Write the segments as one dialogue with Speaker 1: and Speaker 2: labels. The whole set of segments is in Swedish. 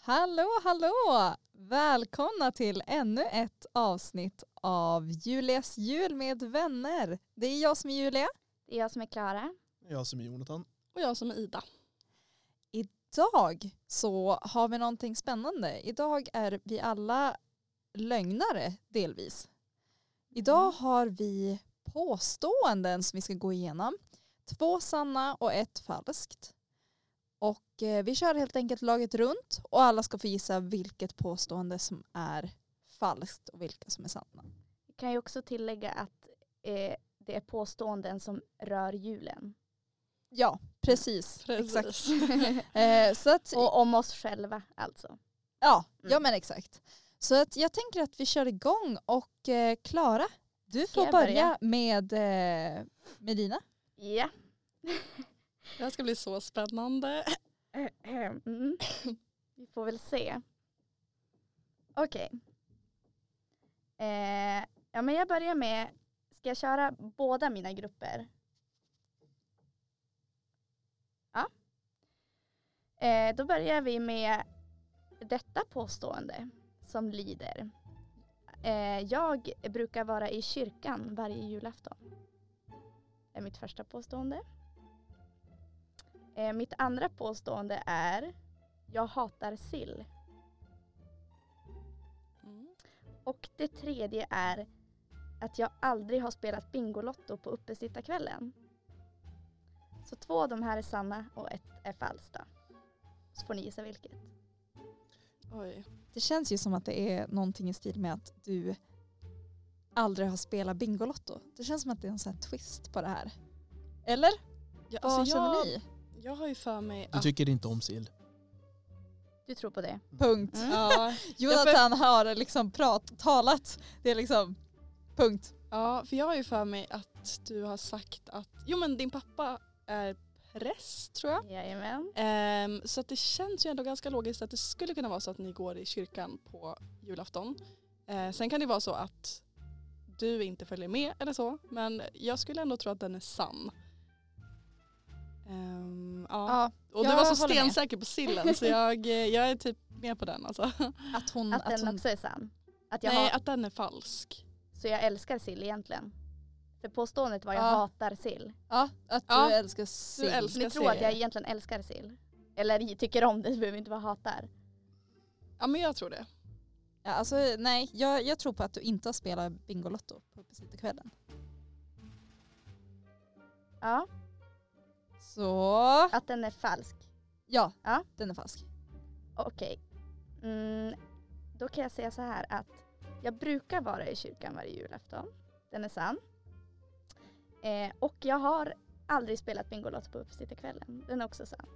Speaker 1: Hallå, hallå! Välkomna till ännu ett avsnitt av Julias jul med vänner. Det är jag som är Julia.
Speaker 2: Det är jag som är Klara.
Speaker 3: Jag som är Jonathan.
Speaker 4: Och jag som är Ida.
Speaker 1: Idag så har vi någonting spännande. Idag är vi alla lögnare delvis.
Speaker 4: Mm.
Speaker 1: Idag har vi påståenden som vi ska gå igenom. Två sanna och ett falskt. Och eh, vi kör helt enkelt laget runt och alla ska få gissa vilket påstående som är falskt och vilka som är sanna.
Speaker 2: Vi kan ju också tillägga att eh, det är påståenden som rör julen.
Speaker 1: Ja, precis. Exakt.
Speaker 4: Precis.
Speaker 1: Eh, så att,
Speaker 2: Och om oss själva alltså.
Speaker 1: ja,
Speaker 2: Mm.
Speaker 1: ja men exakt. Så att jag tänker att vi kör igång och eh, Klara, du får
Speaker 2: jag
Speaker 1: börja,
Speaker 2: börja?
Speaker 1: med, eh, med dina.
Speaker 2: Ja.
Speaker 4: Det här ska bli så spännande.
Speaker 2: Mm. Vi får väl se. Okej. Eh, ja men jag börjar med, ska jag köra båda mina grupper? Ja. Eh, då börjar vi med detta påstående som lyder. Eh, jag brukar vara i kyrkan varje julafton. Det är mitt första påstående. Eh, mitt andra påstående är jag hatar sill.
Speaker 1: Mm.
Speaker 2: Och det tredje är att jag aldrig har spelat Bingolotto på uppesittarkvällen. Så två av de här är sanna och ett är falskt. då. Så får ni gissa vilket.
Speaker 4: Oj.
Speaker 1: Det känns ju som att det är någonting i stil med att du aldrig har spelat Bingolotto. Det känns som att det är en sån här twist på det här. Eller?
Speaker 4: Ja,
Speaker 1: Vad
Speaker 4: alltså
Speaker 1: känner
Speaker 4: jag,
Speaker 1: ni?
Speaker 4: jag har ju för mig
Speaker 3: Du
Speaker 4: att...
Speaker 3: tycker inte om sill.
Speaker 2: Du tror på det?
Speaker 1: Punkt.
Speaker 2: Mm.
Speaker 4: ja,
Speaker 1: Jonathan har liksom prat, talat. Det är liksom punkt.
Speaker 4: ja, för jag har ju för mig att du har sagt att... Jo men din pappa är präst tror jag.
Speaker 2: Jajamän.
Speaker 4: Ehm, så att det känns ju ändå ganska logiskt att det skulle kunna vara så att ni går i kyrkan på julafton. Eh, sen kan det vara så att du inte följer med eller så. Men jag skulle ändå tro att den är sann. Ehm, ja.
Speaker 1: Ja,
Speaker 4: Och du
Speaker 1: jag
Speaker 4: var så
Speaker 1: håller med.
Speaker 4: stensäker på sillen så jag, eh, jag är typ med på den alltså.
Speaker 1: att hon,
Speaker 2: Att,
Speaker 1: att
Speaker 2: den
Speaker 1: hon
Speaker 2: också är sann. Att jag
Speaker 4: Nej
Speaker 2: hat-
Speaker 4: att den är falsk.
Speaker 2: Så jag älskar sill egentligen. För påståendet var jag
Speaker 1: Ja.
Speaker 2: hatar sill.
Speaker 1: Ja, att
Speaker 4: Ja,
Speaker 1: du älskar sill.
Speaker 4: du älskar-
Speaker 2: Ni
Speaker 4: Ska
Speaker 2: tror
Speaker 4: se.
Speaker 2: att jag egentligen älskar sill. Eller tycker om det, det behöver inte vara hatar.
Speaker 4: Ja men jag tror det.
Speaker 1: Ja, alltså, nej, jag, jag tror på att du inte har spelat Bingolotto på uppesittarkvällen.
Speaker 2: Ja,
Speaker 1: Så
Speaker 2: att den är falsk.
Speaker 1: ja,
Speaker 2: Ja.
Speaker 1: den är falsk.
Speaker 2: Okej. Mm, då kan jag säga så här att jag brukar vara i kyrkan varje julafton. Den är sann. Eh, och jag har aldrig spelat Bingolotto på uppesittarkvällen. Den är också sann.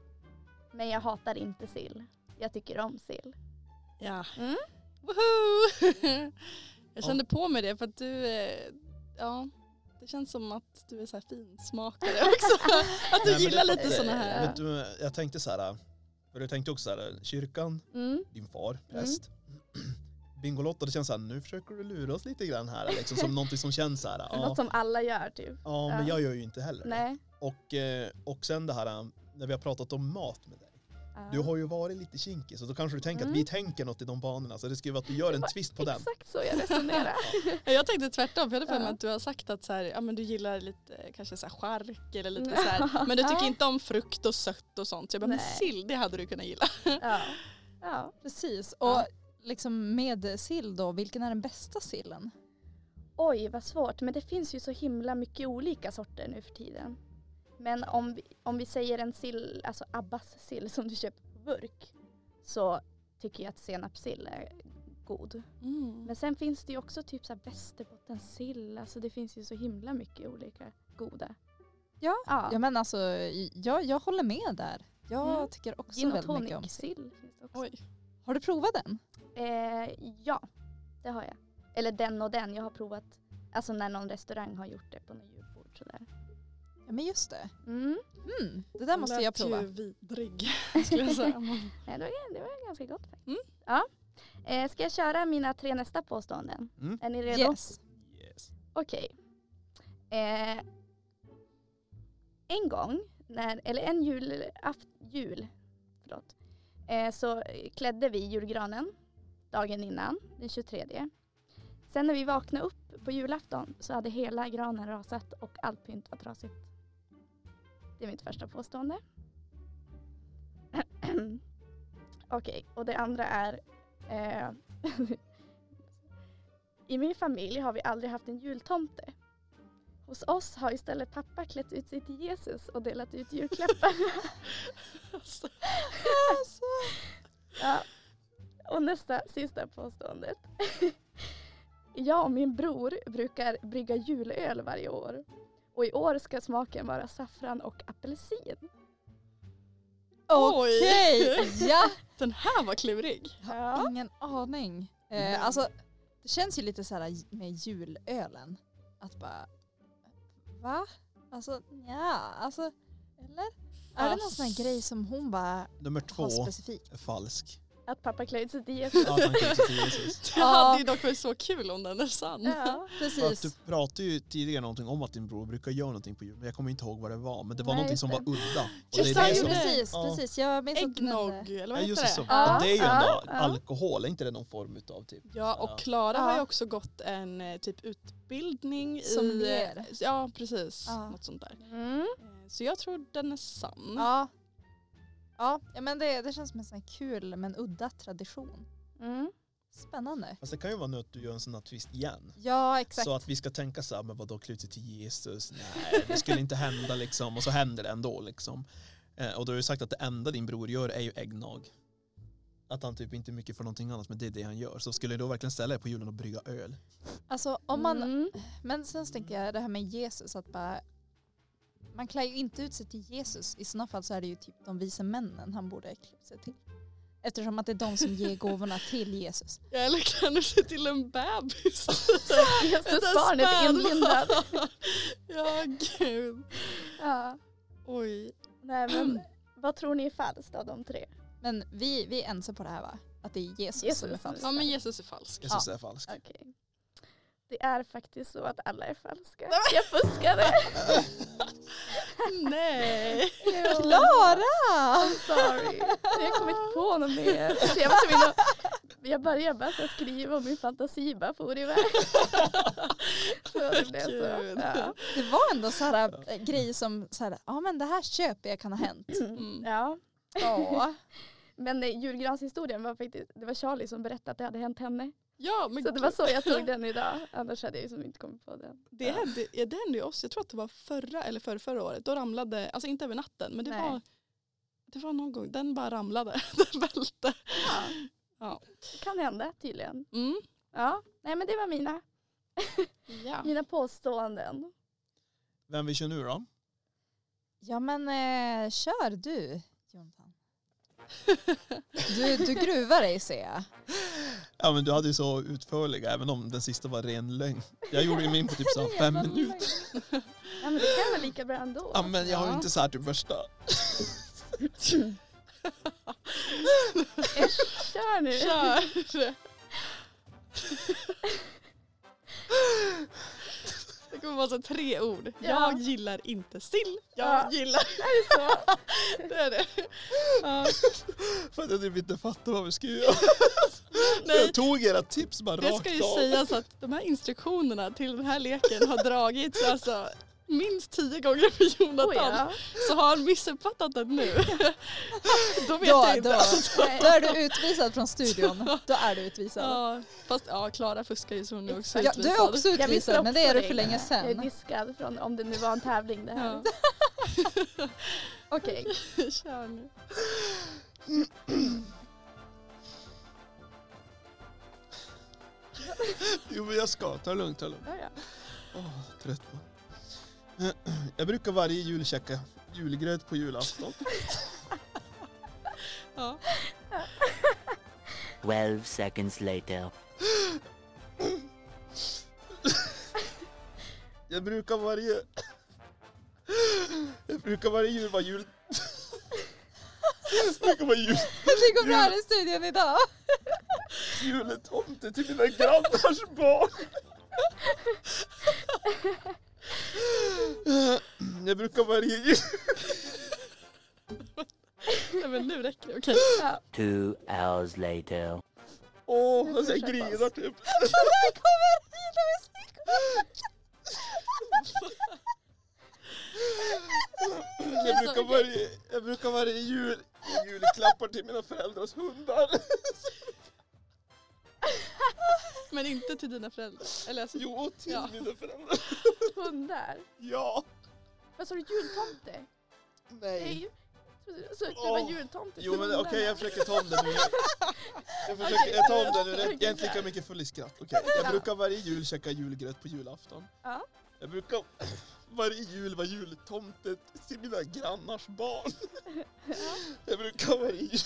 Speaker 2: Men jag hatar inte sill. Jag tycker om sill.
Speaker 4: Ja.
Speaker 2: Mm.
Speaker 4: Woho! jag
Speaker 3: Ja.
Speaker 4: kände på mig det för att du, eh, ja det känns som att du är så här finsmakare också. att du
Speaker 3: Nej, men
Speaker 4: gillar
Speaker 3: det-
Speaker 4: lite
Speaker 3: det-
Speaker 4: sådana här.
Speaker 3: Vet du, jag tänkte så här, för jag tänkte också så här, kyrkan,
Speaker 2: Mm.
Speaker 3: din far, präst. Bingolotto, det känns så här, nu försöker du lura oss lite grann här, liksom, som någonting som känns så här. Ja,
Speaker 2: Något som alla gör typ.
Speaker 3: ja, men
Speaker 2: ja.
Speaker 3: jag gör ju inte heller det.
Speaker 2: Nej.
Speaker 3: Och, eh, och sen det här, när vi har pratat om mat med dig.
Speaker 2: Ja.
Speaker 3: Du har ju varit lite kinkig, så då kanske du tänker
Speaker 2: Mm.
Speaker 3: att vi tänker något i de banorna, så det skulle vara att du gör en
Speaker 2: var
Speaker 3: twist på den.
Speaker 2: Exakt så jag resonerar.
Speaker 4: Ja, Jag tänkte tvärtom, för jag hade för mig
Speaker 2: Ja.
Speaker 4: att du har sagt att så här, ja, men du gillar lite kanske så här chark eller lite så här, men du tycker
Speaker 2: Ja.
Speaker 4: inte om frukt och sött och sånt. Så jag bara, men
Speaker 2: Nej.
Speaker 4: sill det hade du kunnat gilla.
Speaker 2: ja. Ja.
Speaker 1: Precis. Och
Speaker 4: Ja.
Speaker 1: liksom med sill då, vilken är den bästa sillen?
Speaker 2: Oj, vad svårt. Men det finns ju så himla mycket olika sorter nu för tiden. Men om vi, om vi säger en sill, alltså Abbas sill som du köper på burk, så tycker jag att senapssill är god.
Speaker 1: Mm.
Speaker 2: Men sen finns det ju också typ så här västerbottensill, alltså det finns ju så himla mycket olika goda.
Speaker 1: Ja,
Speaker 2: ja.
Speaker 1: Ja men alltså, jag, jag håller med där. Jag
Speaker 2: Mm.
Speaker 1: tycker också
Speaker 2: gin och
Speaker 1: väldigt mycket om
Speaker 2: tonic
Speaker 1: sill.
Speaker 2: sill finns det också.
Speaker 4: Oj.
Speaker 1: Har du provat den?
Speaker 2: Eh, ja, det har jag. Eller den och den, jag har provat, alltså när någon restaurang har gjort det på något julbord sådär.
Speaker 1: Ja men just det.
Speaker 2: Mm.
Speaker 1: Mm, det där måste
Speaker 4: Lät
Speaker 1: jag prova.
Speaker 4: ju vidrig skulle jag säga. Men-
Speaker 2: Nej, Eh, det var, det var ganska gott faktiskt.
Speaker 4: Mm.
Speaker 2: Ja. Eh, ska jag köra mina tre nästa påståenden?
Speaker 3: Mm.
Speaker 2: Är ni redo?
Speaker 1: Yes.
Speaker 3: Yes.
Speaker 2: Okej. Eh, en gång, när, eller en julaft, jul, förlåt, Eh, så klädde vi julgranen dagen innan, den 23. Sen när vi vaknade upp på julafton så hade hela granen rasat och allt pynt var trasigt. Det är mitt första påstående. Okej, och det andra är eh, I min familj har vi aldrig haft en jultomte. Hos oss har istället pappa klätt ut sig till Jesus och delat ut julklappar.
Speaker 4: Alltså,
Speaker 1: Alltså.
Speaker 2: Ja. Och nästa, sista påståendet. Jag och min bror brukar brygga julöl varje år. Och i år ska smaken vara saffran och apelsin.
Speaker 4: Oj.
Speaker 1: Okej, ja.
Speaker 4: den här var klurig.
Speaker 2: Ja.
Speaker 1: Ingen aning.
Speaker 3: Nej.
Speaker 1: Eh, alltså, det känns ju lite så här med julölen. Att bara, va? Alltså, ja, alltså, eller? Är det
Speaker 4: Alltså.
Speaker 1: någon sån här grej som hon bara
Speaker 3: Nummer
Speaker 1: har
Speaker 3: två
Speaker 1: specifikt?
Speaker 3: är falsk.
Speaker 2: Att pappa klär ut sig till Jesus.
Speaker 3: Ja, han kan inte till Jesus.
Speaker 4: Det
Speaker 1: Ja.
Speaker 4: hade ju dock varit så kul om den är sann.
Speaker 2: Ja.
Speaker 3: För att
Speaker 1: Precis.
Speaker 3: du pratade ju tidigare någonting om att din bror brukar göra någonting på jul, men jag kommer inte ihåg vad det var. Men det var
Speaker 2: Nej,
Speaker 3: någonting
Speaker 2: just
Speaker 3: som var udda. Och
Speaker 4: Just
Speaker 3: det är det
Speaker 1: Exakt,
Speaker 4: som-
Speaker 1: precis,
Speaker 3: Ja.
Speaker 1: precis. Jag minns inte men-
Speaker 4: Eggnog, eller vad
Speaker 3: Ja, just
Speaker 4: heter
Speaker 3: det. Så.
Speaker 4: det?
Speaker 2: Ja,
Speaker 3: Men det är ju
Speaker 2: ja,
Speaker 3: ändå
Speaker 2: ja.
Speaker 3: alkohol, är inte det någon form utav typ?
Speaker 4: Ja,
Speaker 3: Ja.
Speaker 4: och Klara har ju
Speaker 1: Ja.
Speaker 4: också gått en eh, typ utbildning
Speaker 1: Sommelier.
Speaker 4: i... Ja, precis.
Speaker 1: Ja.
Speaker 4: Något sånt där.
Speaker 2: Mm.
Speaker 4: Eh, Så jag tror den är sann.
Speaker 1: Ja. Ja, ja, men det, det känns som en sån här kul men udda tradition.
Speaker 2: Mm.
Speaker 1: Spännande.
Speaker 3: Fast det kan ju vara nu att du gör en sån här twist igen.
Speaker 1: Ja, exakt.
Speaker 3: Så att vi ska tänka så här, men vadå klutet till Jesus? Nej, det skulle inte hända liksom. Och så händer det ändå liksom. Eh, och då har du sagt att det enda din bror gör är ju äggnog. Att han typ inte är mycket för någonting annat, men det är det han gör. Så skulle du då verkligen ställa dig på julen och brygga öl?
Speaker 1: Alltså, om man,
Speaker 2: Mm.
Speaker 1: Men sen så tänker
Speaker 4: Mm.
Speaker 1: jag det här med Jesus att bara man klär ju inte ut sig till Jesus. I sådana fall så är det ju typ de vise männen han borde klä sig till. Eftersom att det är de som ger gåvorna till Jesus.
Speaker 4: Ja, Eller kan du se till en bebis?
Speaker 2: Jesusbarnet inlindat.
Speaker 4: ja, gud.
Speaker 2: Ja.
Speaker 4: Oj.
Speaker 2: Nej, men vad tror ni är falskt av de tre?
Speaker 1: Men vi, vi är ense på det här va? Att det är Jesus, som är
Speaker 2: Jesus.
Speaker 1: falsk.
Speaker 4: Ja, men Jesus är falsk.
Speaker 3: Jesus är falsk.
Speaker 2: Okej. Det är faktiskt så att alla är falska. Jag fuskade.
Speaker 4: Nej.
Speaker 1: Klara!
Speaker 2: Sorry. Jag har kommit på något mer. Så jag, var tvungen att- jag började bara så här skriva och min fantasi bara for iväg. Så det blev så.
Speaker 4: Gud.
Speaker 2: Ja.
Speaker 1: Det var ändå så här äh, grejer som så här, ja men det här köper jag kan ha hänt.
Speaker 4: Mm.
Speaker 2: ja.
Speaker 1: Ja.
Speaker 2: Men eh, julgranshistorien var faktiskt, det var Charlie som berättade att det hade hänt henne.
Speaker 4: Ja, men
Speaker 2: Så det var så jag tog den idag. Annars hade jag liksom inte kommit på den.
Speaker 4: Det
Speaker 2: Ja.
Speaker 4: hände, ja, det hände ju oss, jag tror att det var förra eller förra, förra året, då ramlade, alltså inte över natten men det
Speaker 2: Nej.
Speaker 4: var det var någon gång, den bara ramlade, den välte.
Speaker 2: Det kan hända tydligen.
Speaker 4: Mm.
Speaker 2: Ja, nej men det var mina,
Speaker 4: Ja.
Speaker 2: mina påståenden.
Speaker 3: Vem vill köra nu då?
Speaker 1: Ja men eh, kör du Jonathan. Du, du gruvar dig ser jag.
Speaker 3: Ja men du hade ju så utförliga, även om den sista var ren lögn. Jag gjorde ju min på typ så här fem minuter.
Speaker 2: Ja men det kan vara lika bra ändå.
Speaker 3: Ja men jag har ju
Speaker 4: Ja.
Speaker 3: inte så här typ värsta.
Speaker 2: Eh, Kör nu.
Speaker 4: Kör! Det kommer vara så tre ord.
Speaker 2: Ja.
Speaker 4: Jag gillar inte sill. Jag
Speaker 2: Ja.
Speaker 4: gillar...
Speaker 2: Är det så?
Speaker 4: Det är det. Ja.
Speaker 3: För att jag typ inte fattar vad vi ska göra.
Speaker 4: Nej,
Speaker 3: Jag tog era tips bara
Speaker 4: det
Speaker 3: rakt
Speaker 4: ska ju
Speaker 3: av.
Speaker 4: sägas att de här instruktionerna till den här leken har dragits alltså minst tio gånger för Jonathan.
Speaker 2: Oj, oh ja.
Speaker 4: Så har han missuppfattat den nu, då vet
Speaker 1: Då,
Speaker 4: jag inte.
Speaker 1: då.
Speaker 2: Nej.
Speaker 1: Då är du utvisad från studion. Då är du utvisad.
Speaker 4: Ja, fast ja, Klara fuskar ju så hon är också
Speaker 1: Ja, du är
Speaker 4: utvisad.
Speaker 1: också
Speaker 2: Jag visste
Speaker 1: utvisad men det är
Speaker 2: också
Speaker 1: du för länge
Speaker 2: Jag är
Speaker 1: sedan.
Speaker 2: diskad från om det nu var en tävling det här.
Speaker 4: Ja.
Speaker 2: Okej.
Speaker 4: Kör nu.
Speaker 3: Jo men jag ska, ta det lugnt, ta det lugnt.
Speaker 2: Ja, ja.
Speaker 3: Åh, trött man. Jag brukar varje jul käka julgröt på julafton.
Speaker 5: 12 seconds later.
Speaker 3: Jag brukar varje... Jag brukar varje jul vara jul... Jag brukar vara jul...
Speaker 1: Det går bra i studion idag.
Speaker 3: juletomte till mina grannars barn. Jag brukar varje jul...
Speaker 4: Nej, men nu räcker det. Okej.
Speaker 5: Two hours later.
Speaker 3: Åh,
Speaker 2: Nu
Speaker 3: jag
Speaker 2: får vi
Speaker 3: säger
Speaker 2: skärpa
Speaker 3: grinar
Speaker 2: oss.
Speaker 3: typ.
Speaker 1: Där kommer Ida med sin
Speaker 3: Jag brukar varje, jag brukar varje jul ge julklappar till mina föräldrars hundar.
Speaker 4: Men inte till dina föräldrar. Eller alltså,
Speaker 3: Jo, till
Speaker 4: Ja.
Speaker 3: mina föräldrar.
Speaker 2: Hundar.
Speaker 3: Ja.
Speaker 2: Vad sa du? Jultomte?
Speaker 3: Nej.
Speaker 2: Nej. trodde du- Så det var
Speaker 3: Åh.
Speaker 2: jultomte
Speaker 3: Jo
Speaker 2: till
Speaker 3: men okej,
Speaker 2: hundarna.
Speaker 3: jag försöker ta om det nu. Jag försöker jag tar om det nu.
Speaker 2: Okej.
Speaker 3: Jag är inte lika mycket full i skratt. Okej, Jag
Speaker 2: Ja.
Speaker 3: brukar varje jul käka julgröt på julafton.
Speaker 2: Ja.
Speaker 3: Jag brukar varje jul vara jultomte till mina grannars barn. Jag brukar varje jul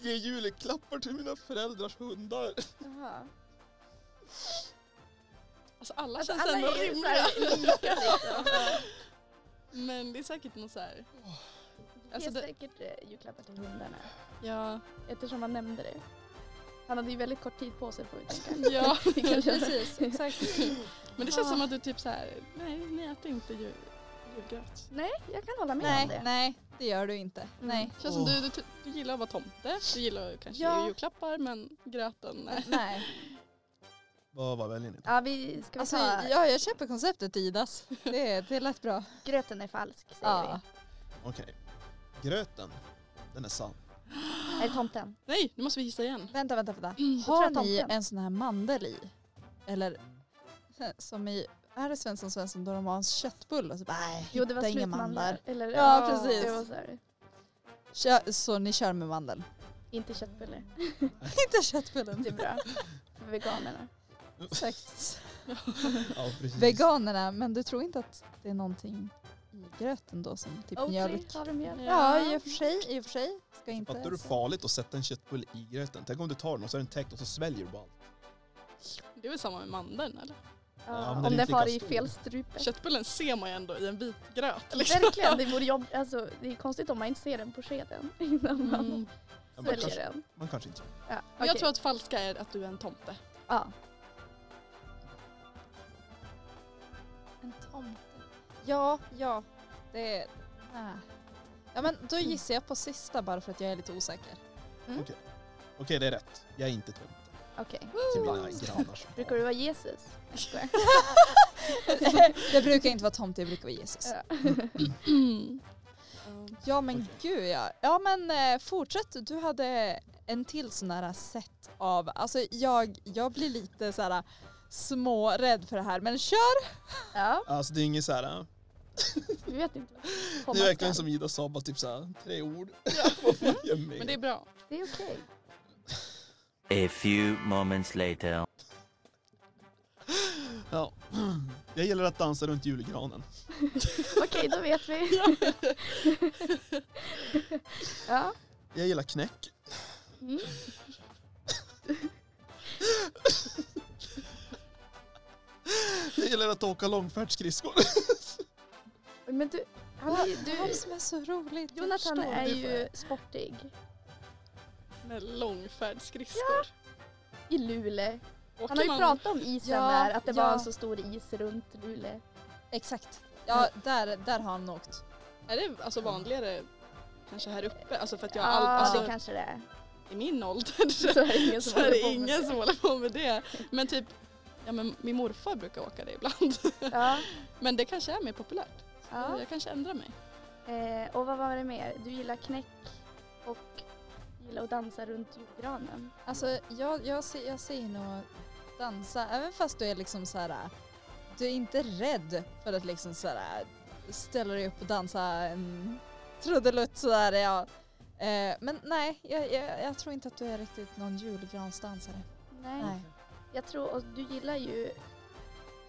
Speaker 3: ge julklappar till mina föräldrars hundar.
Speaker 2: Jaha.
Speaker 4: alltså alla
Speaker 2: Alltså
Speaker 4: känns
Speaker 2: alla
Speaker 4: ändå
Speaker 2: är ju så
Speaker 4: rimliga.
Speaker 2: här lika liksom. Ja.
Speaker 4: Men det är säkert något så här. Alltså,
Speaker 2: Alltså, det
Speaker 4: det-
Speaker 2: är säkert eh, julklappar till hundarna.
Speaker 4: Ja.
Speaker 2: Eftersom han nämnde det. Han hade ju väldigt kort tid på sig får vi tänka.
Speaker 4: ja.
Speaker 2: Vi kan köra.
Speaker 1: Precis, exakt.
Speaker 4: Men det känns
Speaker 1: Ah.
Speaker 4: som att du typ så här. Nej, ni äter inte jul, julgröt.
Speaker 2: Nej, jag kan hålla med om
Speaker 1: Nej,
Speaker 2: det.
Speaker 1: nej, det gör du inte.
Speaker 2: Mm.
Speaker 1: Nej.
Speaker 4: Det känns som
Speaker 3: Åh.
Speaker 4: du, du, ty- du gillar att vara tomte. Du gillar kanske
Speaker 1: Ja.
Speaker 4: julklappar men gröten. Nej.
Speaker 1: Nej.
Speaker 3: Vad vad väljer ni?
Speaker 2: Ja, vi ska vi
Speaker 1: Alltså,
Speaker 2: ta...
Speaker 1: ja, jag köper konceptet Idas. Det, det lät bra.
Speaker 2: Gröten är falsk säger
Speaker 1: Ja.
Speaker 3: Okej. Gröten, den är sann.
Speaker 2: vi. Är det tomten?
Speaker 4: Nej, nu måste vi hissa igen.
Speaker 1: Vänta, vänta, vänta.
Speaker 2: tror Mm, jag
Speaker 1: Har ni
Speaker 2: tomten.
Speaker 1: en sån här mandel i? Eller som i, är det Svensson Svensson då de har en köttbulle och så bara, nej,
Speaker 2: Jo, det var
Speaker 1: hitta inga
Speaker 2: slutmandlar. Eller,
Speaker 1: Ja, precis.
Speaker 2: Det var så här.
Speaker 1: Kö, så ni kör med mandel?
Speaker 2: Inte köttbulle.
Speaker 1: Inte köttbullen.
Speaker 2: Det är bra. För veganerna.
Speaker 1: Exakt.
Speaker 3: Ja, precis.
Speaker 1: Veganerna, men du tror inte att det är någonting i gröten då som typ
Speaker 2: Oatly,
Speaker 1: mjölk?
Speaker 2: har de mjölk?
Speaker 1: Ja, i och för sig. I och för sig. Ska inte
Speaker 3: Fattar du farligt att sätta en köttbulle i gröten? Tänk om du tar den och så är den täckt och så sväljer du bara allt.
Speaker 4: Det är väl samma med mandeln eller?
Speaker 3: Ja, men
Speaker 2: om
Speaker 3: den är
Speaker 2: den
Speaker 3: inte
Speaker 2: far
Speaker 3: lika
Speaker 2: i
Speaker 3: stor.
Speaker 2: fel strupe.
Speaker 4: Köttbullen ser man ju ändå i en bit gröt. Liksom.
Speaker 2: Verkligen, det vore jobb... alltså, det är konstigt om man inte ser den på skeden innan man
Speaker 4: Mm.
Speaker 3: Ja, Man
Speaker 2: sväljer
Speaker 3: kanske,
Speaker 2: den.
Speaker 3: man kanske inte
Speaker 2: Ja,
Speaker 4: Men
Speaker 2: okej.
Speaker 4: Jag tror att falska är att du är en tomte.
Speaker 2: ja.
Speaker 1: En tomte. Ja, ja. Det är... Nej. Ja men då gissar jag på sista bara för att jag är lite osäker.
Speaker 3: Okej, det är rätt. Jag är inte tomte.
Speaker 2: okej.
Speaker 3: Till mina grannars barn.
Speaker 2: Brukar du vara Jesus? Jag skojar.
Speaker 1: det brukar inte vara tomte, det brukar vara Jesus.
Speaker 2: Ja. Mm.
Speaker 4: Um,
Speaker 1: Ja men
Speaker 3: Okej.
Speaker 1: gud ja. Ja men eh, fortsätt, du hade en till sån här sätt av, alltså jag, jag blir lite så här smårädd för det här men kör!
Speaker 2: Ja,
Speaker 3: Alltså det är inget såhär,
Speaker 2: vi vet inte.
Speaker 3: det är verkligen som Ida sa, bara typ såhär tre ord. Vad man gör med.
Speaker 4: men det är bra.
Speaker 2: Det är okej.
Speaker 5: A few moments later.
Speaker 3: ja. Jag gillar att dansa runt julgranen.
Speaker 2: Okej, då vet vi. ja.
Speaker 3: Jag gillar knäck.
Speaker 2: Mm.
Speaker 3: Jag gillar att åka långfärdsskridskor.
Speaker 2: Men du, han är, ju-
Speaker 1: Vad är
Speaker 2: du,
Speaker 1: det som är så roligt? Jag
Speaker 2: Jonathan
Speaker 1: förstår
Speaker 2: är
Speaker 1: inte.
Speaker 2: ju sportig.
Speaker 4: Med långfärdsskridskor.
Speaker 2: I Luleå.
Speaker 4: Åker
Speaker 2: Han har ju
Speaker 4: man-
Speaker 2: pratat om isen
Speaker 1: Ja,
Speaker 2: där, att det var
Speaker 1: ja.
Speaker 2: en så stor is runt Luleå.
Speaker 1: Exakt. Ja, där, där har han åkt.
Speaker 4: Är det alltså vanligare kanske här uppe? Alltså för att
Speaker 2: Ah. Ja,
Speaker 4: jag all, alltså,
Speaker 2: det kanske det är.
Speaker 4: i min ålder
Speaker 2: Så är det ingen som
Speaker 4: så är
Speaker 2: håller
Speaker 4: det
Speaker 2: på med
Speaker 4: ingen som håller på med det. Men typ, ja men min morfar brukar åka det ibland.
Speaker 2: Ja.
Speaker 4: Men det kanske är mer populärt.
Speaker 2: ja.
Speaker 4: Jag kanske ändrar mig.
Speaker 2: Eh, och vad var det mer? Du gillar knäck och gillar att dansa runt julgranen.
Speaker 1: Alltså jag, jag, ser, jag ser nog dansa, även fast du är liksom så här. du är inte rädd för att liksom så här ställa dig upp och dansa en trudelutt sådär ja. Eh, men nej, jag, jag, jag tror inte att du är riktigt någon julgransdansare.
Speaker 2: Nej.
Speaker 1: Nej.
Speaker 2: Jag tror, och du gillar ju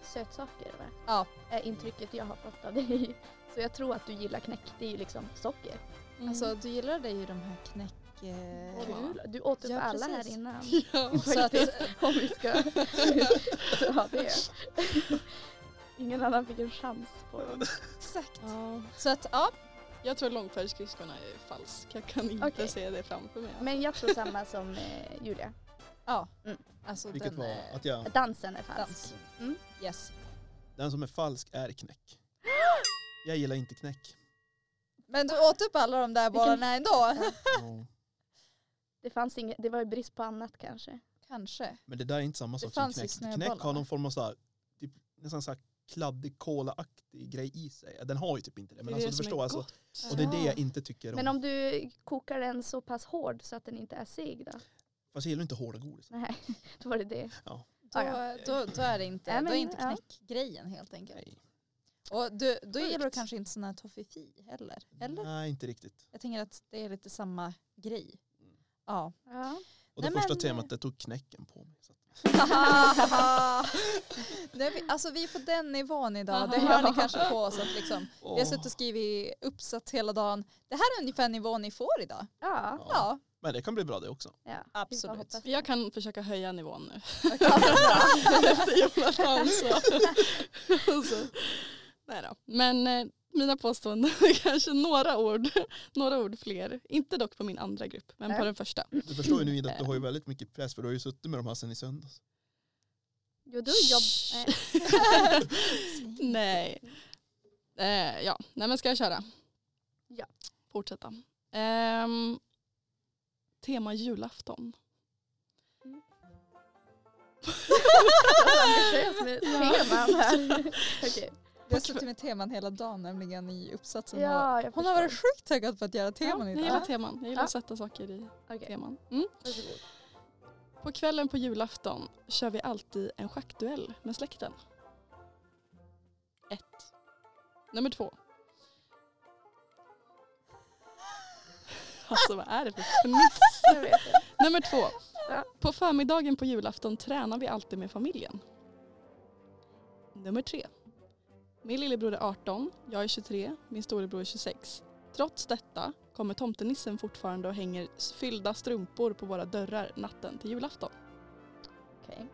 Speaker 2: sötsaker va?
Speaker 1: Ja.
Speaker 2: Är intrycket jag har fått av dig. Så jag tror att du gillar knäck, det är ju liksom socker.
Speaker 4: Mm.
Speaker 1: Alltså du gillade ju de här knäck... eh,
Speaker 2: Kul! Du åt upp
Speaker 1: Ja,
Speaker 2: alla här
Speaker 1: precis.
Speaker 2: innan.
Speaker 4: ja.
Speaker 1: Så att,
Speaker 2: Om vi ska ha det. Ingen annan fick en chans på dem.
Speaker 1: exakt.
Speaker 4: ja.
Speaker 1: Så att ja,
Speaker 4: Jag tror långfärdsskridskorna är falsk. Jag kan inte
Speaker 2: Okej.
Speaker 4: se det framför mig.
Speaker 2: Men jag tror samma som eh, Julia.
Speaker 1: ja.
Speaker 2: Mm.
Speaker 1: Alltså
Speaker 3: Vilket
Speaker 1: den
Speaker 3: var
Speaker 1: eh,
Speaker 3: att jag,
Speaker 2: Dansen är falsk.
Speaker 1: dans.
Speaker 2: Mm.
Speaker 1: Yes.
Speaker 3: den som är falsk är knäck. Jag gillar inte knäck.
Speaker 1: Men du åt upp alla de där
Speaker 2: Vilken-
Speaker 1: bollarna ändå?
Speaker 3: Ja.
Speaker 2: Det fanns inget, det var ju brist på annat kanske.
Speaker 1: Kanske.
Speaker 3: Men det där är inte samma sak som
Speaker 1: fanns ju
Speaker 3: knäck. Knäck
Speaker 1: snöbollarna.
Speaker 3: har någon form av så här, typ, nästan så här kladdig kolaaktig grej i sig. Den har ju typ inte det. Men
Speaker 4: är
Speaker 3: alltså,
Speaker 4: det
Speaker 3: du
Speaker 4: som är
Speaker 3: förstår, alltså,
Speaker 4: gott.
Speaker 3: och det är det
Speaker 1: Ja.
Speaker 3: jag inte tycker om.
Speaker 2: Men om du kokar den så pass hård så att den inte är seg då?
Speaker 3: Fast jag gillar inte hårda godis.
Speaker 2: Nej, då var det det.
Speaker 1: Då,
Speaker 2: Ah, ja.
Speaker 1: då, då är det inte,
Speaker 2: Ja,
Speaker 1: då är
Speaker 2: men,
Speaker 1: inte
Speaker 2: ja.
Speaker 1: knäckgrejen helt enkelt.
Speaker 3: Nej.
Speaker 1: Och du, då gillar du
Speaker 2: Sjukt.
Speaker 1: kanske inte sån här toffifi heller?
Speaker 4: Mm.
Speaker 1: Eller?
Speaker 3: Nej, inte riktigt.
Speaker 1: Jag tänker att det är lite samma grej.
Speaker 3: Mm.
Speaker 1: Ja.
Speaker 2: Ja.
Speaker 3: Och det
Speaker 1: Nej,
Speaker 3: första
Speaker 1: men-
Speaker 3: temat, det tog knäcken på mig. Så. att-
Speaker 1: Nej, vi, alltså vi är på den nivån idag, det
Speaker 4: Aha.
Speaker 1: hör ni kanske på oss att liksom, vi har
Speaker 3: Åh.
Speaker 1: suttit och skrivit uppsats hela dagen. Det här är ungefär nivån ni får idag.
Speaker 2: Ja.
Speaker 1: Ja,
Speaker 3: Men det kan bli bra det också.
Speaker 2: ja.
Speaker 1: Absolut.
Speaker 2: Vi får hoppas.
Speaker 4: Jag kan försöka höja nivån nu. alltså, nej då. Men eh, mina påståenden är kanske några ord, några ord fler. Inte dock på min andra grupp, men på
Speaker 2: Nej.
Speaker 4: den första.
Speaker 3: Du förstår ju nu Ida, att du har ju väldigt mycket press för du har ju suttit med de här sedan i söndags.
Speaker 2: Jo, du jobb...
Speaker 4: Shh.
Speaker 2: Nej.
Speaker 4: Nej. Eh, ja, nej men ska jag köra?
Speaker 2: Ja.
Speaker 4: Fortsätta. Ehm, tema julafton.
Speaker 2: ambitiös med teman här. Okej.
Speaker 1: Vi har suttit med teman hela dagen nämligen i uppsatsen. och-
Speaker 2: Ja, jag
Speaker 1: Hon har varit
Speaker 2: förstår.
Speaker 1: sjukt taggad på att göra teman
Speaker 4: ja, jag gillar
Speaker 1: idag.
Speaker 4: teman. Jag gillar
Speaker 2: Ja.
Speaker 4: att sätta saker i
Speaker 2: Okej,
Speaker 4: teman. Mm.
Speaker 2: varsågod.
Speaker 4: På kvällen på julafton kör vi alltid en schackduell med släkten. Ett. Nummer två. Alltså vad är det för fniss?
Speaker 2: Jag vet inte.
Speaker 4: Nummer två.
Speaker 2: Ja.
Speaker 4: På förmiddagen på julafton tränar vi alltid med familjen. Nummer tre. Min lillebror är 18, jag är 23, min storebror är 26. Trots detta kommer tomtenissen fortfarande och hänger fyllda strumpor på våra dörrar natten till julafton.
Speaker 2: Okej.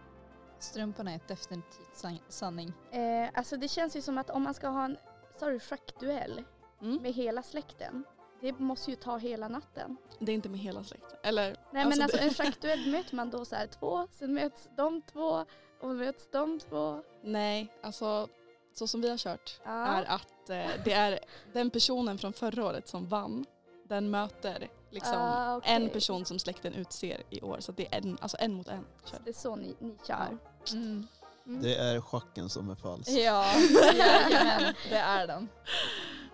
Speaker 1: Strumporna är ett definitivt san- sanning.
Speaker 2: Eh, alltså det känns ju som att om man ska ha en sa du, schackduell
Speaker 4: Mm.
Speaker 2: med hela släkten, det måste ju ta hela natten.
Speaker 4: Det är inte med hela släkten. Eller,
Speaker 2: Nej
Speaker 4: Alltså,
Speaker 2: men alltså
Speaker 4: det-
Speaker 2: en schackduell möter man då så här två, sen möts de två och möts de två.
Speaker 4: nej, alltså så som vi har kört
Speaker 2: Ja.
Speaker 4: är att eh, det är den personen från förra året som vann, den möter liksom
Speaker 2: Ah, okej.
Speaker 4: en person som släkten utser i år. Så att det är en, alltså en mot en.
Speaker 2: Så
Speaker 4: Kör.
Speaker 2: det är så ni, ni kör.
Speaker 1: Mm.
Speaker 2: Mm.
Speaker 3: Det är schacken som är falsk.
Speaker 1: Ja, jajamän, det är den.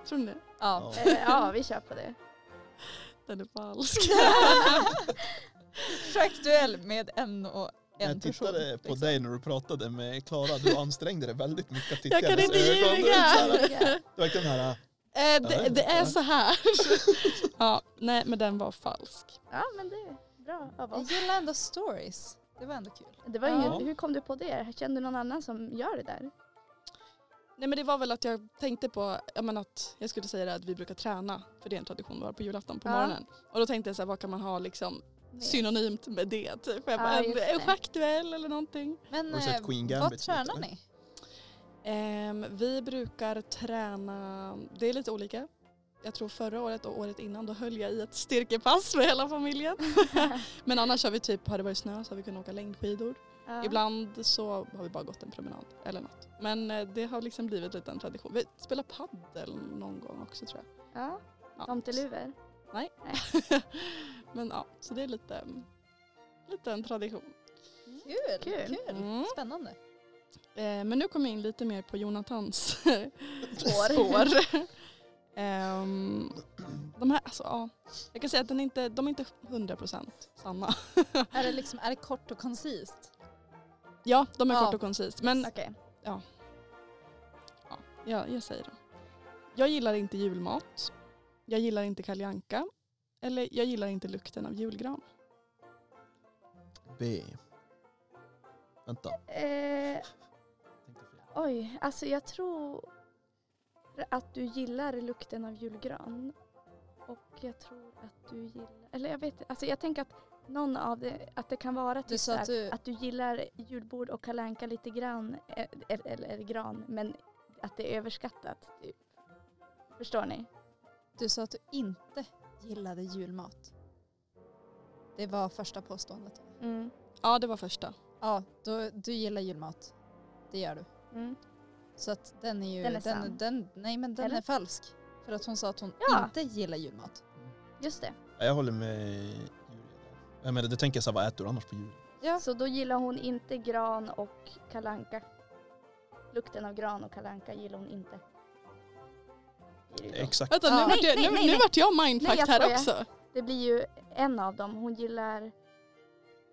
Speaker 4: Tror ni det?
Speaker 1: Ja.
Speaker 2: Eh, ja, vi kör på det.
Speaker 4: Den är falsk.
Speaker 1: Schackduell med en och en
Speaker 3: jag tittade
Speaker 1: person. liksom.
Speaker 3: på dig när du pratade med Klara, du ansträngde dig väldigt mycket att titta
Speaker 4: Jag
Speaker 3: i
Speaker 4: kan
Speaker 3: hennes
Speaker 4: inte
Speaker 3: ögon.
Speaker 4: ljuga.
Speaker 3: Du är så här-
Speaker 2: Ja.
Speaker 3: Du verkar den här,
Speaker 4: Eh, det, det är
Speaker 3: Ja.
Speaker 4: så här. Ja, nej men den var falsk.
Speaker 2: ja men det är bra av
Speaker 1: Jag
Speaker 2: oss.
Speaker 1: gillar ändå stories. Det var ändå kul.
Speaker 2: Det var ju,
Speaker 4: Ja.
Speaker 2: Hur kom du på det? Kände du någon annan som gör det där?
Speaker 4: Nej men det var väl att jag tänkte på, jag menar att jag skulle säga det att vi brukar träna, för det är en tradition vi har på julafton på
Speaker 2: Ja.
Speaker 4: morgonen. Och då tänkte jag så här, vad kan man ha liksom synonymt med det? Typ. Jag
Speaker 2: Ja,
Speaker 4: bara,
Speaker 2: just
Speaker 4: en,
Speaker 2: det.
Speaker 4: en schackduell eller någonting.
Speaker 1: Men
Speaker 3: Har du sett
Speaker 1: eh,
Speaker 3: Queen
Speaker 1: vad
Speaker 3: Gambit
Speaker 1: tränar
Speaker 3: lite,
Speaker 1: ni?
Speaker 4: Ehm, vi brukar träna, det är lite olika. Jag tror förra året och året innan då höll jag i ett styrkepass med hela familjen. men annars har vi typ, har det varit snö så har vi kunnat åka längdskidor.
Speaker 2: Ja.
Speaker 4: Ibland så har vi bara gått en promenad eller något. Men eh, det har liksom blivit lite en tradition. Vi spelar paddel någon gång också tror jag.
Speaker 2: Ja.
Speaker 4: Ja.
Speaker 2: Tomteluvor.
Speaker 4: Nej. Men ja, så det är lite, mm, lite en tradition.
Speaker 1: Kul,
Speaker 2: Kul.
Speaker 1: kul.
Speaker 4: Mm.
Speaker 1: Spännande.
Speaker 4: Eh, men nu kommer jag in lite mer på Jonathans
Speaker 2: Spår.
Speaker 4: spår. Ehm, de här, alltså ja. Jag kan säga att den är inte, de är inte 100% sanna.
Speaker 1: Är det, liksom, är det kort och koncist?
Speaker 4: Ja, de är
Speaker 1: Ja.
Speaker 4: kort och koncist. Men
Speaker 2: Okej.
Speaker 4: Ja, jag säger det. Jag gillar inte julmat. Jag gillar inte Kalle Anka. Eller jag gillar inte lukten av julgran.
Speaker 3: B. Vänta.
Speaker 2: Eh, oj, alltså jag tror att du gillar lukten av julgran. Och jag tror att du gillar, eller jag vet alltså jag tänker att någon av det, att det kan vara
Speaker 1: Du
Speaker 2: typ
Speaker 1: sa
Speaker 2: så här,
Speaker 1: att du...
Speaker 2: att du gillar julbord och Kalle Anka lite grann, eh, eller, eller gran, men att det är överskattat. Typ. Förstår ni?
Speaker 1: Du sa att du inte gillade julmat. Det var första påståendet.
Speaker 2: Mm.
Speaker 4: Ja, det var första.
Speaker 1: Ja, då, du gillar julmat. Det gör du.
Speaker 2: Mm.
Speaker 1: Så att den är ju...
Speaker 2: Den är sann.
Speaker 1: den, den, nej men den
Speaker 2: Eller?
Speaker 1: är falsk. För att hon sa att hon
Speaker 2: Ja.
Speaker 1: inte gillar julmat.
Speaker 2: Just det.
Speaker 3: Ja, Jag håller med Julia där. Jag menar, då tänker jag så här, vad äter du annars på jul?
Speaker 1: Ja.
Speaker 2: Så då gillar hon inte gran och kalanka. Lukten av gran och kalanka gillar hon inte. Blir det ju då.
Speaker 3: Exakt.
Speaker 4: Vänta, nu,
Speaker 1: Ja.
Speaker 4: vart
Speaker 2: Nej,
Speaker 4: jag,
Speaker 2: nej,
Speaker 4: nu,
Speaker 2: nej,
Speaker 4: nu
Speaker 2: nej.
Speaker 4: vart jag mindfucked
Speaker 2: jag
Speaker 4: här
Speaker 2: skojar.
Speaker 4: också.
Speaker 2: Det blir ju en av dem. Hon gillar...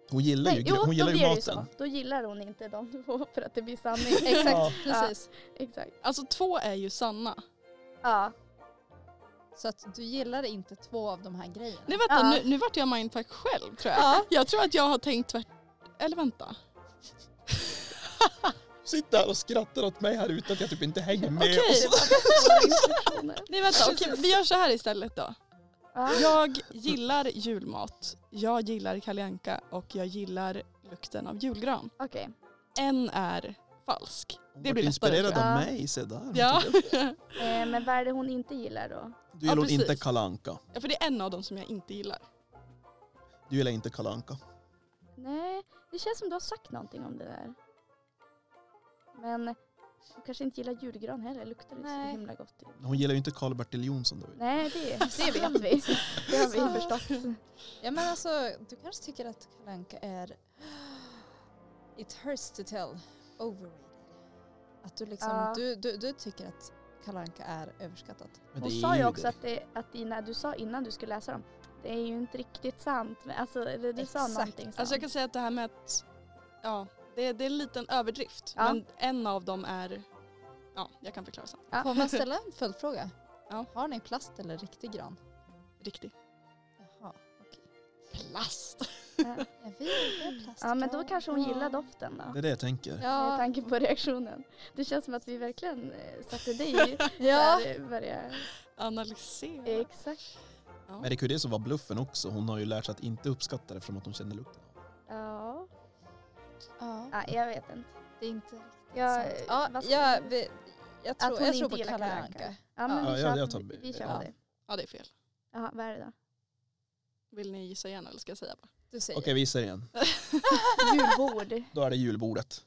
Speaker 3: Hon gillar ju,
Speaker 2: Nej,
Speaker 3: gre-
Speaker 2: jo,
Speaker 3: hon gillar
Speaker 2: då
Speaker 3: ju
Speaker 2: blir det ju
Speaker 3: maten.
Speaker 2: så. Då gillar hon inte dem två för att det blir sanning.
Speaker 1: Exakt,
Speaker 2: Ja.
Speaker 1: precis.
Speaker 2: Exakt.
Speaker 4: Alltså två är ju sanna.
Speaker 2: Ja.
Speaker 1: Så att du gillar inte två av de här grejerna.
Speaker 4: Nej vänta,
Speaker 2: Ja.
Speaker 4: nu, nu vart jag mindfuck själv tror jag.
Speaker 1: Ja.
Speaker 4: Jag tror att jag har tänkt tvärt... Eller vänta.
Speaker 3: Sitter här och skrattar åt mig här ute att jag typ inte hänger med.
Speaker 4: Okej.
Speaker 3: Och så-
Speaker 4: Nej vänta, okej vi gör så här istället då.
Speaker 2: ja.
Speaker 4: Jag gillar julmat, jag gillar Kalle Anka och jag gillar lukten av julgran.
Speaker 2: Okej.
Speaker 4: En är falsk.
Speaker 3: Hon
Speaker 4: Det
Speaker 3: vart
Speaker 4: blir lättare.
Speaker 3: inspirerad
Speaker 4: tror
Speaker 2: jag.
Speaker 3: av
Speaker 2: Ja.
Speaker 3: mig, se där. Hon
Speaker 4: Ja.
Speaker 3: tog upp det.
Speaker 2: Eh, men vad är det hon inte gillar då?
Speaker 3: Du gillar
Speaker 4: precis.
Speaker 3: inte kalanka.
Speaker 4: jag. Ja, för det är en av dem som jag inte gillar.
Speaker 3: Du gillar inte kalanka.
Speaker 2: Nej, det känns som du har sagt någonting om det där. Men hon kanske inte gillar julgran heller. Luktar inte
Speaker 1: Nej.
Speaker 2: så himla gott.
Speaker 3: Hon gillar ju inte Karl-Bertil Jonsson. Då.
Speaker 2: Nej, det, det vet vi. Det har vi förstått.
Speaker 1: Ja men alltså, du kanske tycker att Kalle Anka är It hurts to tell, overrated. Att du liksom,
Speaker 2: Ja.
Speaker 1: du, du, du tycker att Kalle Anka är överskattat.
Speaker 3: Men
Speaker 2: Hon
Speaker 3: det
Speaker 2: sa
Speaker 3: är
Speaker 2: ju också
Speaker 3: det.
Speaker 2: att, det, att dina, du sa innan du skulle läsa dem, det är ju inte riktigt sant. Men Alltså, eller du sa
Speaker 1: Exakt.
Speaker 2: någonting sånt.
Speaker 4: Alltså jag kan säga att det här med att, ja, det, det är en liten överdrift.
Speaker 2: Ja.
Speaker 4: Men en av dem är, ja, jag kan förklara sen.
Speaker 2: Ja.
Speaker 1: Får man ställa en följdfråga?
Speaker 4: Ja.
Speaker 1: Har ni plast eller riktig gran?
Speaker 4: Riktig
Speaker 1: Jaha, okej.
Speaker 4: plast.
Speaker 2: Ja.
Speaker 1: Ja, vi har plast.
Speaker 2: Ja, men då kanske hon gillar doften då.
Speaker 3: Ah. Det är det jag tänker.
Speaker 2: Med
Speaker 1: Ja,
Speaker 2: tanke på reaktionen. Det känns som att vi verkligen eh, satte dig i
Speaker 1: ja.
Speaker 2: där, eh, börja.
Speaker 4: Analysera.
Speaker 2: Exakt.
Speaker 3: Men det är ju det som var bluffen också. Hon har ju lärt sig att inte uppskatta det från att hon känner lukten.
Speaker 2: Ja.
Speaker 1: ja.
Speaker 2: ja, jag vet inte.
Speaker 1: Det är inte riktigt
Speaker 2: Jag,
Speaker 1: sant. Ja, eh,
Speaker 2: vad ska
Speaker 1: jag,
Speaker 2: vi-
Speaker 1: vi- jag tror,
Speaker 2: hon
Speaker 1: jag tror
Speaker 2: inte
Speaker 1: på
Speaker 2: gillar
Speaker 1: Kalle
Speaker 2: Kalle
Speaker 1: Anka.
Speaker 2: Anka. ja, men
Speaker 3: Ja,
Speaker 2: vi
Speaker 3: jag-
Speaker 2: kör,
Speaker 3: jag
Speaker 2: på-
Speaker 3: tar-
Speaker 2: vi, vi kör
Speaker 3: ja.
Speaker 2: på det.
Speaker 4: Ja det är fel.
Speaker 2: Jaha, vad är det då?
Speaker 4: Vill ni gissa igen eller ska jag säga bara?
Speaker 1: Du säger.
Speaker 3: Okej, vi gissar igen.
Speaker 2: Julbord.
Speaker 3: Då är det julbordet.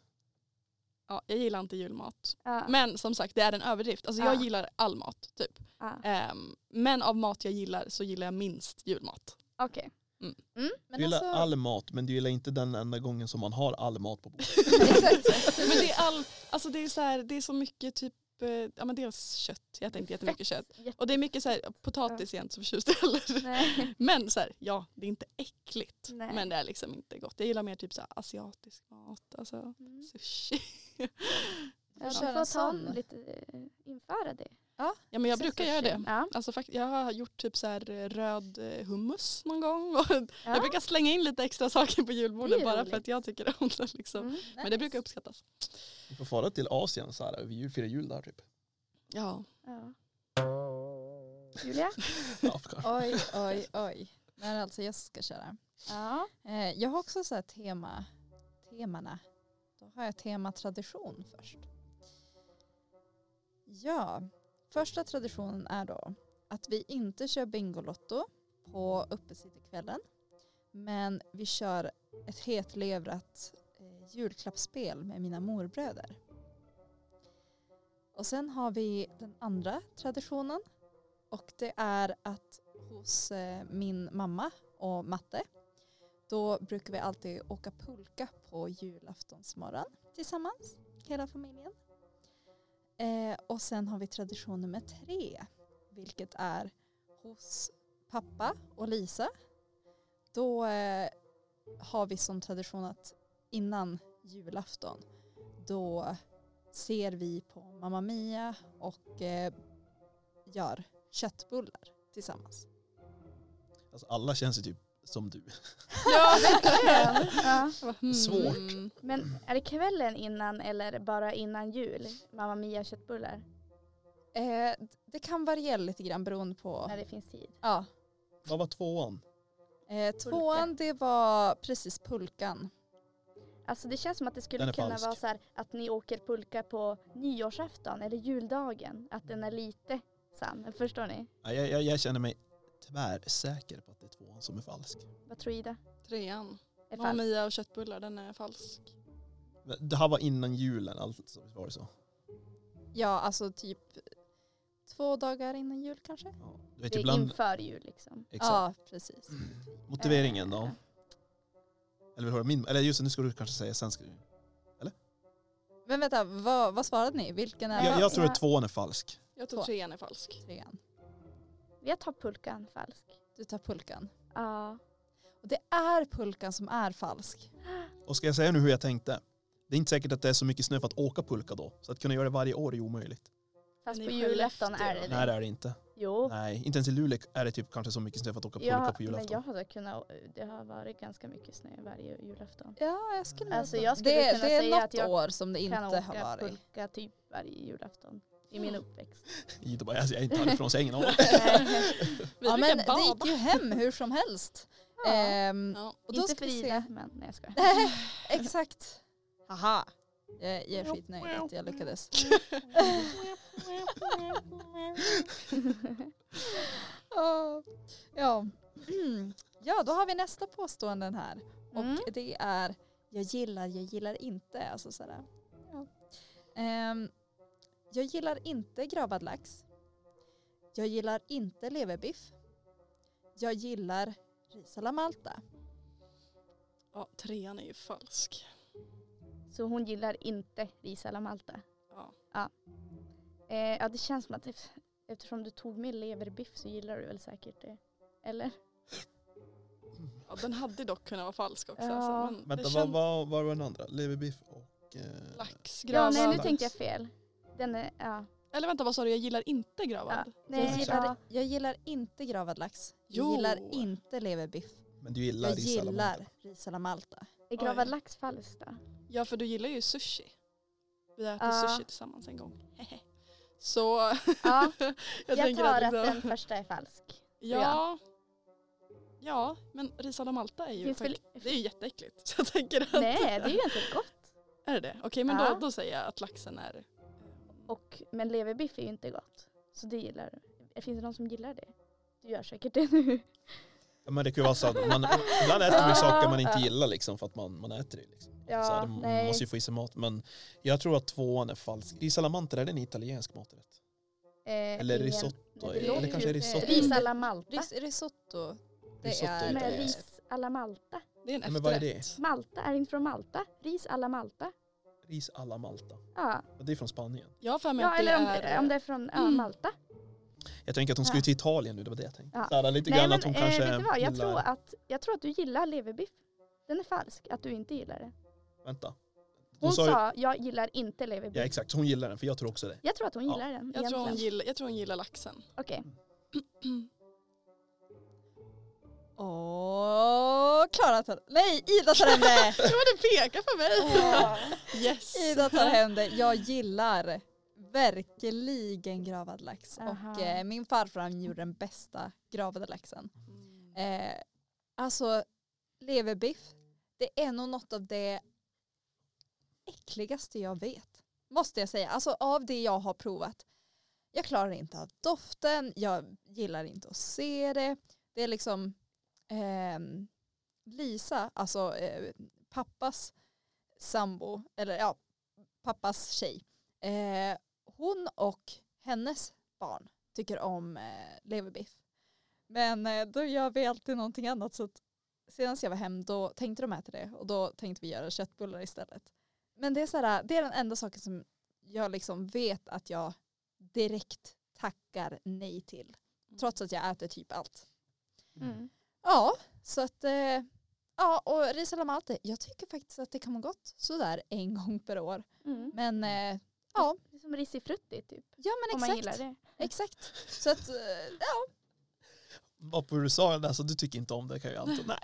Speaker 4: Ja, jag gillar inte julmat.
Speaker 2: Ja,
Speaker 4: Men som sagt det är en överdrift. Alltså
Speaker 2: Ja.
Speaker 4: jag gillar all mat typ.
Speaker 2: ja.
Speaker 4: Ehm, men av mat jag gillar så gillar jag minst julmat.
Speaker 2: Okej.
Speaker 1: Men
Speaker 3: Du gillar
Speaker 1: alltså-
Speaker 3: all mat, men du gillar inte den enda gången som man har all mat på bordet.
Speaker 1: Exakt.
Speaker 4: Men det är, all, alltså det är, så, här, det är så mycket typ, eh, ja men dels kött, jag äter inte jättemycket kött.
Speaker 2: Jätte-
Speaker 4: Och det är mycket så här, potatis är jag inte så förtjust i heller.
Speaker 2: Nej.
Speaker 4: Men så här, ja det är inte äckligt.
Speaker 2: Nej.
Speaker 4: Men det är liksom inte gott. Jag gillar mer typ så här, asiatisk mat, alltså
Speaker 2: Mm.
Speaker 4: sushi.
Speaker 2: Ja,
Speaker 1: kör
Speaker 2: vi
Speaker 1: en
Speaker 2: får ta
Speaker 1: sån.
Speaker 2: en lite, eh, införa det.
Speaker 4: Ja men jag brukar göra det.
Speaker 2: Ja.
Speaker 4: Alltså, fakt- jag har gjort typ så här eh, röd eh, hummus någon gång. Och Jag brukar slänga in lite extra saker på
Speaker 2: Det
Speaker 4: julbordet
Speaker 2: är
Speaker 4: bara
Speaker 2: roligt.
Speaker 4: för att jag tycker om det. Liksom.
Speaker 2: Mm.
Speaker 4: Men det brukar uppskattas.
Speaker 3: Vi får fara till Asien så här över jul, fira jul där typ.
Speaker 4: Ja.
Speaker 2: Ja. Julia?
Speaker 3: Ja, kanske.
Speaker 1: Oj, oj, oj. Men alltså jag ska köra.
Speaker 2: Ja.
Speaker 1: Eh, jag har också så här tema, temana. Då har jag tema tradition först. Ja, första traditionen är då att vi inte kör Bingolotto på uppesittarkvällen. Men vi kör ett hetlevrat eh, julklappsspel med mina morbröder. Och sen har vi den andra traditionen och det är att hos eh, min mamma och matte då brukar vi alltid åka pulka på julaftonsmorgon tillsammans, hela familjen. Eh, och sen har vi tradition nummer tre, vilket är hos pappa och Lisa. Då eh, har vi som tradition att innan julafton då ser vi på Mamma Mia och eh, gör köttbullar tillsammans.
Speaker 3: Alltså, alla känns ju typ som du.
Speaker 4: ja.
Speaker 2: ja.
Speaker 4: Mm.
Speaker 3: Svårt.
Speaker 2: Men är det kvällen innan eller bara innan jul? Mamma Mia köttbullar?
Speaker 1: Eh, d- det kan variera lite grann beroende på
Speaker 2: När det finns tid.
Speaker 1: Ja.
Speaker 3: Vad var tvåan?
Speaker 1: Eh, tvåan det var precis pulkan.
Speaker 2: Alltså det känns som att det
Speaker 3: Den
Speaker 2: skulle
Speaker 3: är
Speaker 2: kunna
Speaker 3: falsk.
Speaker 2: vara så här att ni åker pulka på nyårsafton eller juldagen. Att den är lite sann. Förstår ni?
Speaker 3: Ja, Jag, jag, jag känner mig tvärsäker på att det är tvåan som är falsk.
Speaker 2: Vad tror Ida?
Speaker 4: Trean.
Speaker 2: Är
Speaker 4: Mamma
Speaker 2: falskt?
Speaker 4: Mia och köttbullar, den är falsk.
Speaker 3: Men Det här var innan julen, alltså. Var det så?
Speaker 1: Ja alltså typ Två dagar innan jul kanske?
Speaker 3: Ja, du vet
Speaker 2: Det är
Speaker 3: ibland,
Speaker 2: inför jul liksom.
Speaker 3: exakt.
Speaker 1: Ja, precis.
Speaker 3: Motiveringen då?
Speaker 2: Eh,
Speaker 3: Eller vill du höra min? Eller just det, nu ska du kanske säga sen. Ska du.
Speaker 1: Men vänta, vad, vad svarade ni? Vilken är
Speaker 2: Ja,
Speaker 3: Jag, jag tror att
Speaker 2: ja.
Speaker 3: tvåan är falsk.
Speaker 4: Jag tror
Speaker 1: Två.
Speaker 4: trean är falsk.
Speaker 1: trean?
Speaker 2: Jag tar pulkan falsk.
Speaker 1: Du tar pulkan.
Speaker 2: Ja.
Speaker 1: Och det är pulkan som är falsk.
Speaker 3: Och ska jag säga nu hur jag tänkte? Det är inte säkert att det är så mycket snö för att åka pulka då. Så att kunna göra det varje år är omöjligt.
Speaker 2: Fast
Speaker 4: Men
Speaker 2: på
Speaker 4: i
Speaker 2: julafton
Speaker 4: Skellefteå
Speaker 2: är
Speaker 4: då?
Speaker 2: det
Speaker 3: Nej
Speaker 2: det.
Speaker 3: det är det inte.
Speaker 2: Jo.
Speaker 3: Nej, inte ens i Luleå är det typ kanske så mycket snö för att åka pulka
Speaker 2: Ja,
Speaker 3: på
Speaker 2: men
Speaker 3: julafton.
Speaker 2: jag hade kunnat, det har varit ganska mycket snö varje julafton.
Speaker 1: Ja, jag skulle
Speaker 2: Alltså,
Speaker 1: nog-
Speaker 2: jag skulle
Speaker 1: det,
Speaker 2: kunna
Speaker 1: det är
Speaker 2: säga
Speaker 1: något
Speaker 2: att jag
Speaker 1: år som det
Speaker 2: Jag kan
Speaker 1: inte har
Speaker 2: åka
Speaker 1: varit.
Speaker 2: pulka typ varje julafton i min uppväxt.
Speaker 3: Ida bara, alltså, jag är inte härifrån så jag har ingen aning.
Speaker 2: Nej,
Speaker 4: Vi
Speaker 1: Ja, men
Speaker 4: brukar
Speaker 1: det
Speaker 4: bada.
Speaker 1: gick ju hem hur som helst.
Speaker 2: Ja.
Speaker 1: Ehm,
Speaker 4: Ja.
Speaker 1: och då
Speaker 2: inte
Speaker 1: ska vi se-
Speaker 2: Frida, men nej jag skojar.
Speaker 1: Exakt. Haha. Jag, jag är skitnöjd att jag lyckades. Ja. ja. ja, då har vi nästa påståenden här.
Speaker 2: Mm.
Speaker 1: Och det är jag gillar, jag gillar inte. Alltså sådär. Ja. Ehm, jag gillar inte gravad lax. Jag gillar inte leverbiff. Jag gillar ris alla malta.
Speaker 4: Ja, trean är ju falsk.
Speaker 2: Så hon gillar inte ris alla Malta.
Speaker 4: Ja.
Speaker 2: Eh, ja det känns som att ef- eftersom du tog med leverbiff så gillar du väl säkert det. Eller?
Speaker 4: Ja, den hade dock kunnat vara falsk också.
Speaker 2: Ja.
Speaker 4: Alltså, men
Speaker 3: Vänta,
Speaker 4: det
Speaker 3: vad
Speaker 4: känns-
Speaker 3: vad- vad var den andra? Leverbiff och... Eh...
Speaker 4: Lax,
Speaker 2: Ja,
Speaker 4: gravad.
Speaker 2: nej nu
Speaker 3: lax.
Speaker 2: tänkte jag fel. Den är, ja.
Speaker 4: Eller vänta, vad sa du? Jag gillar inte
Speaker 2: ja.
Speaker 4: gravad.
Speaker 1: Jag
Speaker 2: Nej,
Speaker 1: gillar,
Speaker 2: ja.
Speaker 1: jag gillar inte gravad lax. Jag
Speaker 4: Jo.
Speaker 1: gillar inte leverbiff.
Speaker 3: Men du gillar
Speaker 1: Jag
Speaker 3: ris alla
Speaker 1: gillar ris alla malta.
Speaker 2: Är gravad lax falskt då?
Speaker 4: Ja, för du gillar ju sushi. Vi har ätit
Speaker 2: Ja.
Speaker 4: sushi tillsammans en gång. Så
Speaker 2: Ja,
Speaker 4: jag,
Speaker 2: jag
Speaker 4: tänker
Speaker 2: tar
Speaker 4: att...
Speaker 2: att
Speaker 4: liksom-
Speaker 2: den första är falsk.
Speaker 4: Ja. Ja, men ris alla Malta är ju
Speaker 2: Finns väl-
Speaker 4: fakt- det är ju jätteäckligt. Så jag tänker att...
Speaker 2: Nej, det är ju ganska gott.
Speaker 4: Är det det? Okej, men
Speaker 2: Ja.
Speaker 4: då, då säger jag att laxen är...
Speaker 2: Och, men leverbiff är ju inte gott. Så det gillar du. Finns det någon som gillar det? Du gör säkert det nu.
Speaker 3: Ja, men det kan ju vara så att man, ibland äter man ju saker man inte gillar liksom för att man, man äter det. Liksom.
Speaker 2: Ja,
Speaker 3: så här, man
Speaker 2: nej.
Speaker 3: måste ju få i sig mat. Men jag tror att tvåan är falsk. Risalamanter, är det en italiensk maträtt?
Speaker 2: Eh,
Speaker 3: Eller
Speaker 2: ingen-
Speaker 3: risotto?
Speaker 2: Nej, det
Speaker 3: eller
Speaker 2: låter
Speaker 3: kanske
Speaker 1: ju-
Speaker 3: risotto?
Speaker 2: Ris alla Malta.
Speaker 1: Ris, risotto. Det
Speaker 3: Risotto
Speaker 1: är-
Speaker 3: är
Speaker 2: Nej,
Speaker 3: italienskt.
Speaker 2: ris alla Malta.
Speaker 4: Det är en
Speaker 3: Ja,
Speaker 4: efterrätt.
Speaker 3: men vad är
Speaker 2: Malta, är det inte från Malta? Ris alla Malta?
Speaker 3: Ris alla Malta.
Speaker 2: Ja,
Speaker 3: Och det är från Spanien.
Speaker 4: Jag har för mig
Speaker 2: ja
Speaker 4: att det
Speaker 2: eller om,
Speaker 4: är...
Speaker 2: om det är från ja,
Speaker 4: Mm.
Speaker 2: Malta.
Speaker 3: Jag tänker att hon skulle
Speaker 2: Ja.
Speaker 3: till Italien nu, det var det jag tänkte.
Speaker 2: Ja.
Speaker 3: Så här, lite
Speaker 2: Nej
Speaker 3: grann
Speaker 2: men
Speaker 3: att hon
Speaker 2: eh,
Speaker 3: kanske
Speaker 2: vet du vad, jag
Speaker 3: gillar...
Speaker 2: tror, att, jag tror att du gillar leverbiff. Den är falsk, att du inte gillar det.
Speaker 3: Vänta. Hon,
Speaker 2: Hon
Speaker 3: sa ju...
Speaker 2: sa, jag gillar inte leverbiff.
Speaker 3: Ja exakt, så hon gillar den för jag tror också det.
Speaker 2: Jag tror att hon
Speaker 3: Ja.
Speaker 2: gillar den
Speaker 4: jag, tror hon
Speaker 2: egentligen.
Speaker 4: gillar, jag tror hon gillar laxen.
Speaker 2: Okej,
Speaker 1: Åh, Klara tar... Nej, Ida tar hem det!
Speaker 4: Ja, men det pekar för mig! Yes!
Speaker 1: Ida tar hem det. Jag gillar verkligen gravad lax.
Speaker 2: Aha.
Speaker 1: Och eh, min farfar han gjorde den bästa gravade laxen. Eh, alltså, leverbiff, det är nog något av det äckligaste jag vet. Måste jag säga. Alltså av det jag har provat. Jag klarar inte av doften, jag gillar inte att se det. Det är liksom ehm, Lisa, alltså eh, pappas sambo, eller ja, pappas tjej. Eh, hon och hennes barn tycker om eh, leverbiff. Men eh, då gör vi alltid någonting annat. Så att senast jag var hem då tänkte de äta det och då tänkte vi göra köttbullar istället. Men det är, så här, det är den enda saken som jag liksom vet att jag direkt tackar nej till. Trots att jag äter typ allt.
Speaker 2: mm.
Speaker 1: Ja, så att eh, ja, och ris alla malte. Jag tycker faktiskt att det kan vara gott sådär en gång per år.
Speaker 2: mm.
Speaker 1: Men eh, ja,
Speaker 2: Det är Som risifrutti typ,
Speaker 1: ja men
Speaker 2: om man gillar
Speaker 1: exakt.
Speaker 2: det.
Speaker 1: Exakt. Så att eh, ja,
Speaker 3: Vad på USA, alltså du tycker inte om det kan jag anta. Nej,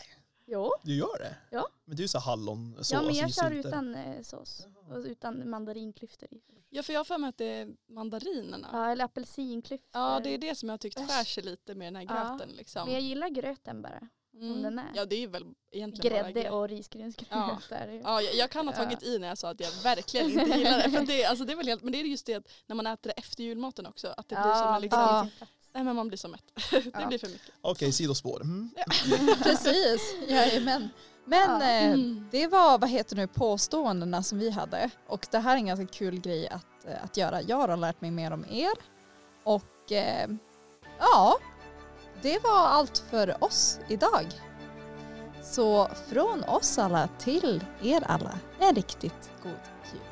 Speaker 2: Jo,
Speaker 3: du gör det.
Speaker 2: Ja.
Speaker 3: Men du är ju så här hallonsås.
Speaker 2: ja men jag
Speaker 3: alltså,
Speaker 2: kör
Speaker 3: sylta.
Speaker 2: utan eh, sås och utan mandarinklyftor i.
Speaker 4: Ja, för jag har för mig att det är mandarinerna. Ja.
Speaker 2: Ja, eller apelsinklyftor.
Speaker 4: det är det som jag har tyckt
Speaker 1: Äsch.
Speaker 4: skär sig lite med den här
Speaker 2: Ja,
Speaker 4: gröten. liksom.
Speaker 2: Men jag gillar gröten bara.
Speaker 4: Mm.
Speaker 2: den är.
Speaker 4: Ja, det är ju väl egentligen bara
Speaker 2: Grädde
Speaker 4: gröt.
Speaker 2: och risgrynsgröt
Speaker 4: Ja.
Speaker 2: är det ju.
Speaker 4: Ja, jag, jag kan ha
Speaker 2: Ja.
Speaker 4: tagit i när jag sa att jag verkligen inte gillar det. För det, alltså det är väl helt, men det är just det att när man äter det efter julmaten också, att det blir som en liksom,
Speaker 1: Ja.
Speaker 4: nej men man blir så mätt. det
Speaker 2: Ja.
Speaker 4: blir för mycket.
Speaker 3: Okej, sidospår. Mm.
Speaker 1: precis. Jajamän. Men
Speaker 2: Ja.
Speaker 1: eh, Det var vad heter nu påståendena som vi hade och det här är en ganska kul grej att, eh, att göra. Jag har lärt mig mer om er Och eh, ja, det var allt för oss idag. Så från oss alla till er alla, en riktigt god jul.